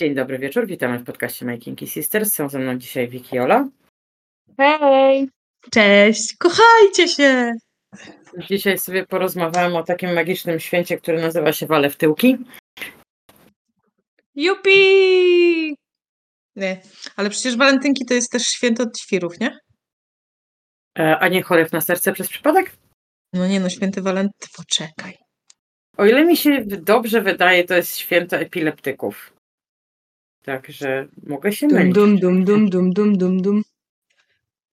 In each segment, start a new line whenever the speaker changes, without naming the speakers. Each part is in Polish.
Dzień dobry wieczór, witamy w podcaście Making Kinky Sisters. Są ze mną dzisiaj Wiki i Ola.
Hej!
Cześć, kochajcie się!
Dzisiaj sobie porozmawiałam o takim magicznym święcie, który nazywa się Wale w tyłki.
Jupi! Nie, ale przecież walentynki to jest też święto świrów, nie?
E, A nie chorych na serce przez przypadek?
No nie no, święty walentyn, poczekaj.
O ile mi się dobrze wydaje, to jest święto epileptyków. Także mogę się
Dum,
mylić.
dum, dum, dum, dum, dum, dum, dum.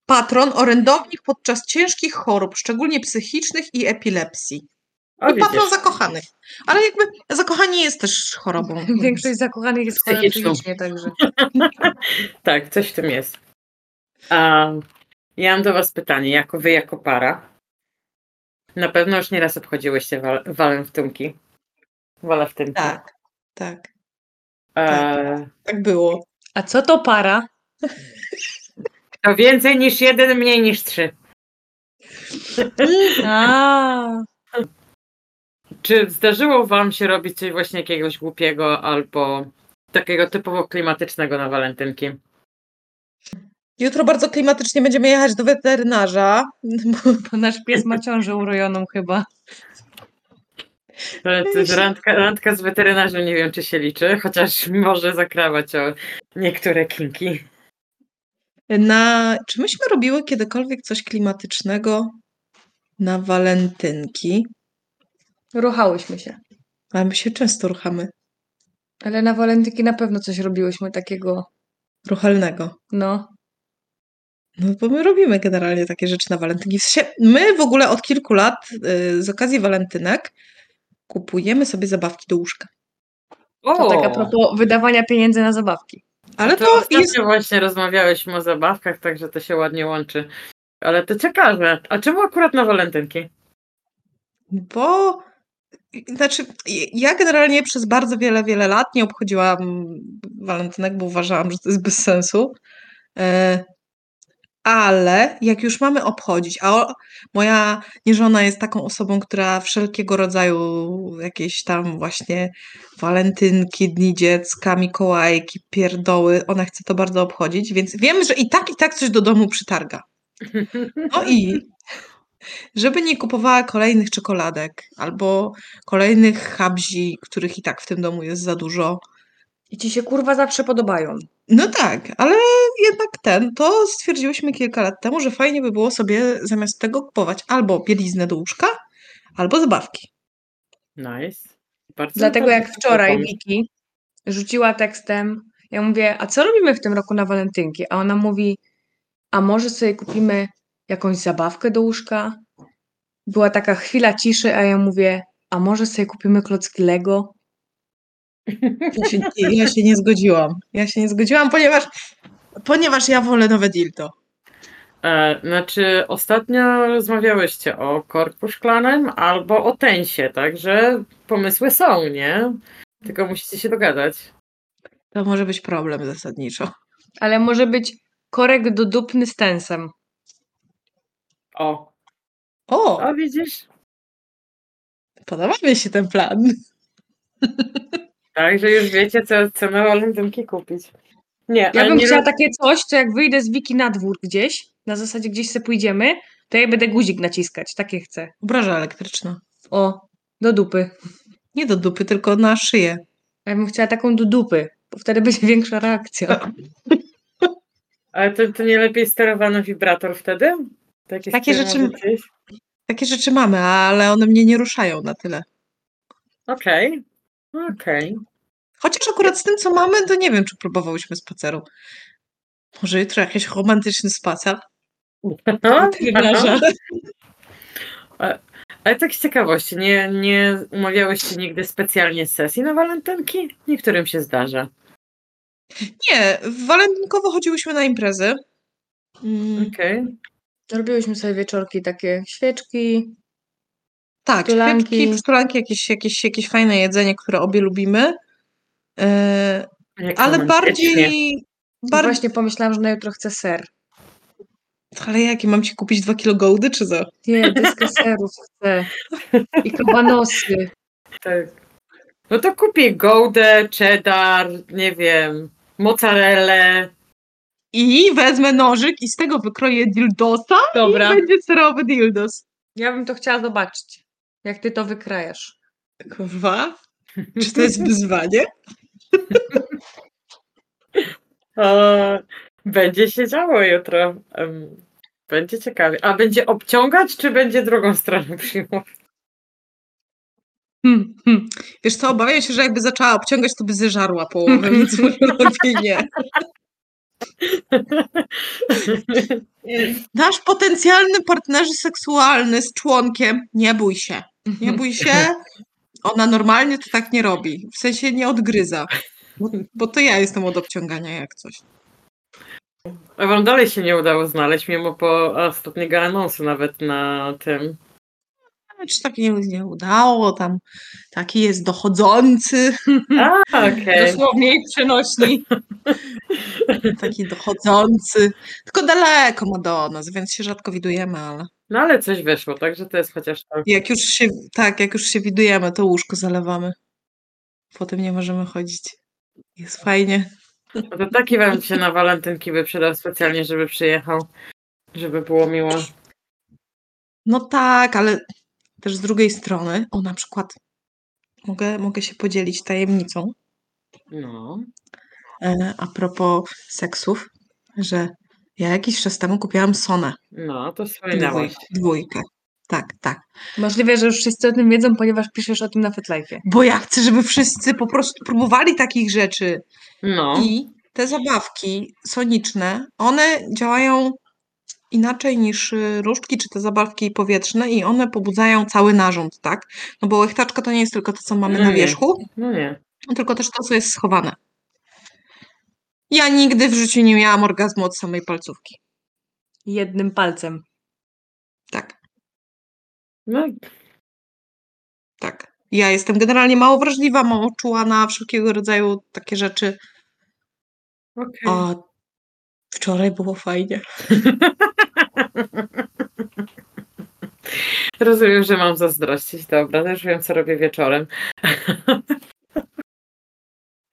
Patron, orędownik podczas ciężkich chorób, szczególnie psychicznych i epilepsji.
O,
I patron
widzisz.
zakochanych. Ale jakby zakochanie jest też chorobą.
Większość zakochanych jest chora
Psychiczną.
psychicznie, także.
Tak, coś w tym jest. A, ja mam do Was pytanie, jako Wy, jako para. Na pewno już nieraz obchodziłyście wal, walem w tyłki. Wale w tyłki.
Tak, tak.
E,
Tak było.
A co to para?
To więcej niż jeden, mniej niż trzy.
A,
Czy zdarzyło Wam się robić coś właśnie jakiegoś głupiego albo takiego typowo klimatycznego na walentynki?
Jutro bardzo klimatycznie będziemy jechać do weterynarza, bo
to nasz pies ma ciążę urojoną chyba.
To, to jest randka, randka z weterynarzem, nie wiem czy się liczy, chociaż może zakrawać o niektóre kinki.
Na, czy myśmy robiły kiedykolwiek coś klimatycznego na walentynki?
Ruchałyśmy się.
A my się często ruchamy.
Ale na walentynki na pewno coś robiłyśmy takiego,
Ruchalnego.
no.
No bo my robimy generalnie takie rzeczy na walentynki. W sensie, my w ogóle od kilku lat y, z okazji walentynek kupujemy sobie zabawki do łóżka.
O,
To tak a propos No wydawania pieniędzy na zabawki.
Ale to,
to ostatnio
jest...
właśnie rozmawiałyśmy o zabawkach, także to się ładnie łączy. Ale to ciekawe. A czemu akurat na walentynki?
Bo... Znaczy, ja generalnie przez bardzo wiele, wiele lat nie obchodziłam walentynek, bo uważałam, że to jest bez sensu. E, Ale jak już mamy obchodzić, a o, moja nieżona jest taką osobą, która wszelkiego rodzaju jakieś tam właśnie walentynki, dni dziecka, mikołajki, pierdoły, ona chce to bardzo obchodzić, więc wiem, że i tak, i tak coś do domu przytarga. No i żeby nie kupowała kolejnych czekoladek albo kolejnych habzi, których i tak w tym domu jest za dużo,
I ci się kurwa zawsze podobają.
no tak, ale jednak ten, to stwierdziłyśmy kilka lat temu, że fajnie by było sobie zamiast tego kupować albo bieliznę do łóżka, albo zabawki.
Nice. Bardzo
Dlatego jak
interesujący
wczoraj
pomysł.
Wiki rzuciła tekstem, ja mówię, a co robimy w tym roku na walentynki? A ona mówi, a może sobie kupimy jakąś zabawkę do łóżka? Była taka chwila ciszy, a ja mówię, a może sobie kupimy klocki Lego?
Ja się, ja się nie zgodziłam. Ja się nie zgodziłam, ponieważ, ponieważ ja wolę nowe dildo.
E, znaczy, ostatnio rozmawiałyście o korku szklanym albo o tensie, także pomysły są, nie? Tylko musicie się dogadać.
To może być problem zasadniczo.
Ale może być korek do dupny z tensem.
O,
O,
o widzisz?
podoba mi się ten plan.
Także już wiecie, co, co na walentynki kupić. Nie,
Ja
ale
bym
nie
chciała
roz-
takie coś, co jak wyjdę z Wiki na dwór gdzieś, na zasadzie gdzieś se pójdziemy, to ja będę guzik naciskać, takie chcę.
Obraża elektryczna.
O, do dupy.
Nie do dupy, tylko na szyję.
Ja bym chciała taką do dupy, bo wtedy będzie większa reakcja.
Ale to, to nie lepiej sterowany wibrator wtedy?
Takie rzeczy-
sterowane coś?
Takie rzeczy mamy, ale one mnie nie ruszają na tyle.
Okej, okej.
Chociaż akurat z tym, co mamy, to nie wiem, czy próbowałyśmy spaceru. Może jutro jakiś romantyczny spacer.
No,
Weterynarza.
Ale tak z ciekawości, nie, nie umawiałyście nigdy specjalnie sesji na walentynki? Niektórym się zdarza.
Nie, walentynkowo chodziłyśmy na imprezy. Mm,
Okej.
Robiłyśmy sobie wieczorki takie świeczki.
tak,
Przytulanki.
świeczki, przytulanki, jakieś, jakieś, jakieś fajne jedzenie, które obie lubimy. E,
Jak
ale
romantycznie.
bardziej...
Bar...
bardziej
Właśnie pomyślałam, że na jutro chcę ser.
ale jakie, mam ci kupić dwa kilo gołdy, czy co?
Nie, dyskę serów chcę. I kabanosy.
Tak. No to kupię gołdę, cheddar, nie wiem, mozzarellę.
I wezmę nożyk i z tego wykroję dildosa
Dobra.
i będzie serowy dildos.
Ja bym to chciała zobaczyć, jak ty to wykrajasz.
Kurwa. Czy to jest wyzwanie?
O, będzie się działo jutro. Em, Będzie ciekawie. A będzie obciągać, czy będzie drugą stronę przyjmować?
Hmm, hmm.
Wiesz co, obawiam się, że jakby zaczęła obciągać, to by zeżarła połowę, więc lepiej nie. Nasz potencjalny partnerze seksualny z członkiem, nie bój się. Nie bój się. Ona normalnie to tak nie robi. W sensie nie odgryza. Bo, bo to ja jestem od obciągania jak coś.
A wam dalej się nie udało znaleźć, mimo po ostatniego anonsu nawet na tym.
Ale Czy tak nie, nie udało? Tam taki jest dochodzący.
A,
E,
okej.
Dosłownie i przenośni.
Taki dochodzący. Tylko daleko ma do nas, więc się rzadko widujemy, ale
No ale coś wyszło, także to jest chociaż to.
jak już się, tak, jak już się widujemy, to łóżko zalewamy. Potem nie możemy chodzić. Jest fajnie.
No to taki wam się na walentynki by przydał specjalnie, żeby przyjechał. Żeby było miło.
No tak, ale też z drugiej strony, o na przykład, mogę, mogę się podzielić tajemnicą
No.
e, a propos seksów, że ja jakiś czas temu kupiłam Sonę.
No, to wspominałaś.
Dwój, dwójkę. Tak, tak.
Możliwe, że już wszyscy o tym wiedzą, ponieważ piszesz o tym na FetLife'ie.
Bo ja chcę, żeby wszyscy po prostu próbowali takich rzeczy.
No.
I te zabawki soniczne, one działają inaczej niż y, różdżki czy te zabawki powietrzne i one pobudzają cały narząd, tak? No bo łechtaczka to nie jest tylko to, co mamy
No
na
nie.
wierzchu,
No nie.
tylko też to, co jest schowane. Ja nigdy w życiu nie miałam orgazmu od samej palcówki.
Jednym palcem.
Tak,
No,
tak. Ja jestem generalnie mało wrażliwa, mało czuła na wszelkiego rodzaju takie rzeczy.
okej.
A wczoraj było fajnie.
Rozumiem, że mam zazdrościć. Dobra, też wiem, co robię wieczorem.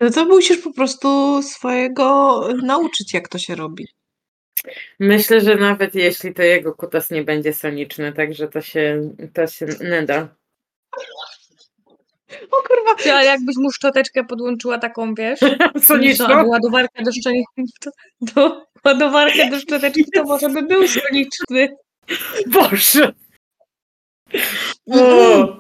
No to musisz po prostu swojego y, nauczyć, jak to się robi.
Myślę, że nawet jeśli to jego kutas nie będzie soniczny, także to się, to się neda.
O kurwa,
Ty, ale jakbyś mu szczoteczkę podłączyła taką, wiesz, do
Soniczno?
ładowarkę do szczoteczki, to, do ładowarkę do szczoteczki, to może by był soniczny.
Boże!
Mm.
O,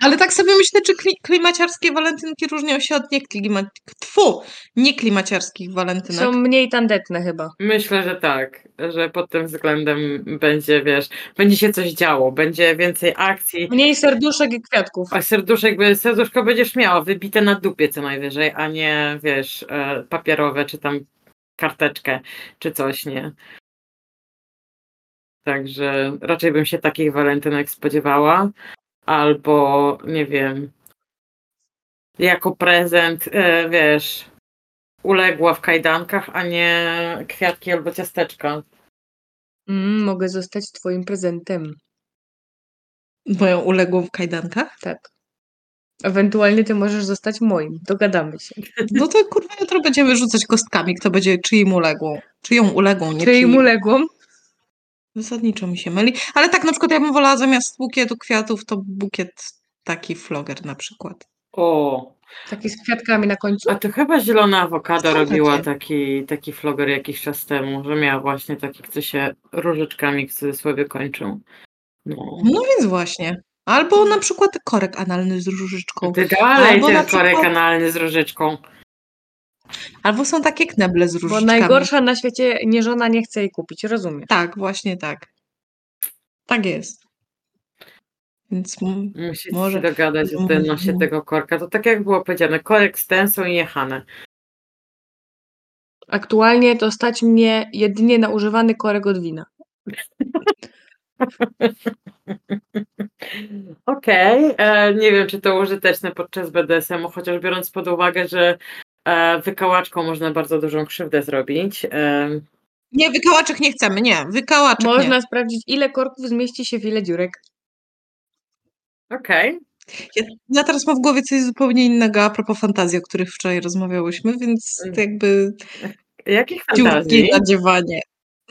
Ale tak sobie myślę, czy kli- klimaciarskie walentynki różnią się od nieklima- tfu, nieklimaciarskich walentynek.
Są mniej tandetne chyba.
myślę, że tak, że pod tym względem będzie, wiesz, będzie się coś działo, będzie więcej akcji,
Mniej serduszek i kwiatków.
a serduszek, by- serduszko będziesz miała wybite na dupie co najwyżej, a nie, wiesz, e, papierowe, czy tam karteczkę, czy coś, nie? Także raczej bym się takich walentynek spodziewała. Albo, nie wiem, jako prezent, e, wiesz, uległa w kajdankach, a nie kwiatki albo ciasteczka.
Mm, mogę zostać twoim prezentem.
Moją uległą w kajdankach.
Tak. Ewentualnie ty możesz zostać moim. Dogadamy się.
No to kurwa jutro będziemy rzucać kostkami, kto będzie czyim uległą. Czyją uległą, nie
Czyli
czyim.
mu ległą.
Zasadniczo mi się myli. Ale tak na przykład ja bym wolała zamiast bukietu kwiatów, to bukiet taki floger na przykład.
O,
Taki z kwiatkami na końcu.
a to chyba zielona awokado
Są
robiła
takie.
taki, taki floger jakiś czas temu, że miała właśnie taki, co się różyczkami w cudzysłowie kończył. No.
No więc właśnie. Albo na przykład korek analny z różyczką.
Ty dalej
Albo na
ten korek
przykład-
analny z różyczką.
Albo są takie kneble z
Bo
różyczkami.
najgorsza na świecie nie żona nie chce jej kupić, rozumiesz?
Tak, właśnie tak. Tak jest. Więc m-
Musicie
Może-
się dogadać o tym nosie
Mm.
tego korka. To tak jak było powiedziane, korek z tensą i jechane.
Aktualnie to stać mnie jedynie na używany korek od wina.
Okej, e, nie wiem, czy to użyteczne podczas BDSM-u, chociaż biorąc pod uwagę, że e, wykałaczką można bardzo dużą krzywdę zrobić. E,
nie, wykałaczek nie chcemy, nie. Wykałaczek
Można
nie.
sprawdzić, ile korków zmieści się w ile dziurek.
Okej,
Ja, ja teraz mam w głowie coś zupełnie innego a propos fantazji, o których wczoraj rozmawiałyśmy, więc
Mm.
to jakby
Jakich
dziurki
fantazji?
nadziewanie.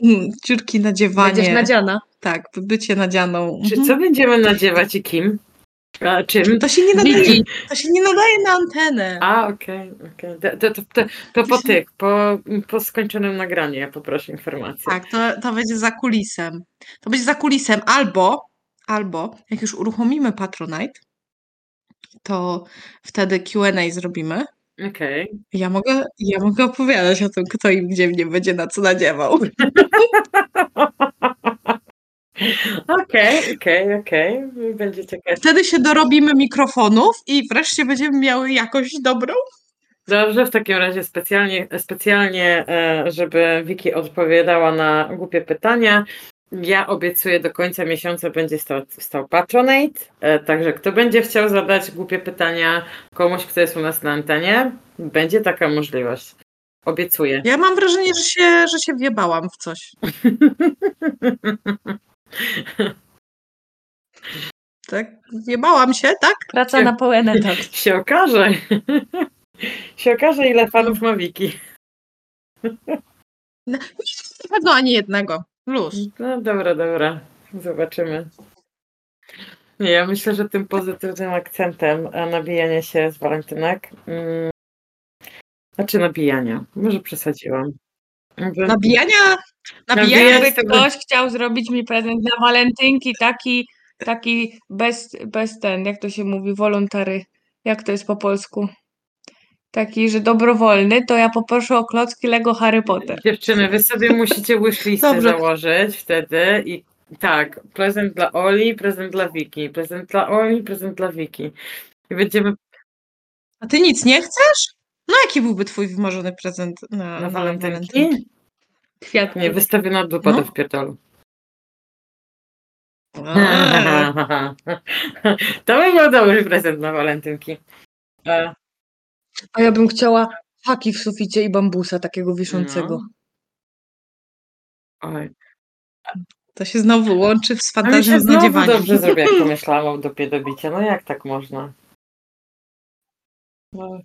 Mm, Dziurki
Będziesz
nadziewanie.
nadziana.
tak, bycie nadzianą.
Czy
Mhm.
co będziemy nadziewać i kim? A, czym?
To się nie nadaje,
Wiki.
to się nie nadaje na antenę.
A, okej, okej. To, to, to, to, to po tych, po, po skończonym nagraniu ja poproszę informację.
Tak, to, to będzie za kulisem. To będzie za kulisem albo, albo jak już uruchomimy Patronite, to wtedy Q&A zrobimy.
Okej.
Ja mogę, ja mogę opowiadać o tym, kto i gdzie mnie będzie na co nadziewał.
Okej, okej, okej. Będzie ciekawe.
Wtedy się dorobimy mikrofonów i wreszcie będziemy miały jakoś dobrą.
Dobrze, w takim razie specjalnie, specjalnie e, żeby Wiki odpowiadała na głupie pytania. Ja obiecuję, do końca miesiąca będzie stał, stał Patronate, e, także kto będzie chciał zadać głupie pytania komuś, kto jest u nas na antenie, będzie taka możliwość. Obiecuję.
Ja mam wrażenie, że się, że się wjebałam w coś. Tak? Wjebałam się, tak?
Praca na pełen etat.
się okaże. się okaże, ile fanów ma Wiki.
Na pewno ani jednego. Luz.
No dobra, dobra. Zobaczymy. Nie, ja myślę, że tym pozytywnym akcentem e, nabijania się z walentynek. mm, Znaczy nabijania. Może przesadziłam. Że-
No, Nabijania,
Nabijania
nabijania
Jakby ktoś chciał zrobić mi prezent na walentynki, taki, taki bez, bez ten, jak to się mówi, wolontary, jak to jest po polsku? Taki, że dobrowolny, to ja poproszę o klocki Lego Harry Potter.
Dziewczyny, wy sobie musicie wishlistę
Dobrze.
założyć wtedy i tak, prezent dla Oli, prezent dla Wiki, prezent dla Oli, prezent dla Wiki. I będziemy
No, A ty nic nie chcesz? No jaki byłby twój wymarzony prezent na,
na
na
walentynki.
no, walentynki?
Kwiatki.
Nie, wystawiona dupa do
No.
wpierdolu.
Eee,
To by był dobry prezent na walentynki. E,
A ja bym chciała haki w suficie i bambusa takiego wiszącego.
Oj.
To się znowu łączy z
A mi się
fantazją z
znowu
nadziewaniem.
dobrze zrobię, jak pomyślałam o dupie do bicia. No jak tak można? No,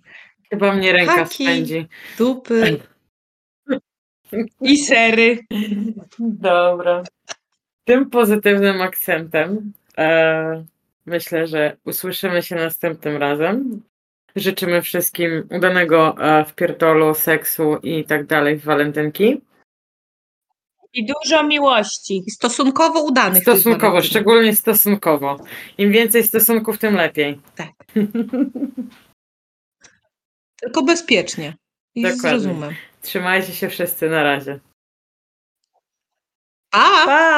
chyba mnie ręka
Haki.
spędzi.
Dupy.
I sery.
Dobra. Tym pozytywnym akcentem e, myślę, że usłyszymy się następnym razem. Życzymy wszystkim udanego e, wpierdolu, seksu i tak dalej w walentynki.
I dużo miłości.
I stosunkowo udanych. tych
Stosunkowo,
walentynek.
szczególnie stosunkowo. Im więcej stosunków, tym lepiej.
Tylko bezpiecznie. I
Dokładnie.
z rozumem.
Trzymajcie się wszyscy na razie.
Pa!
Pa!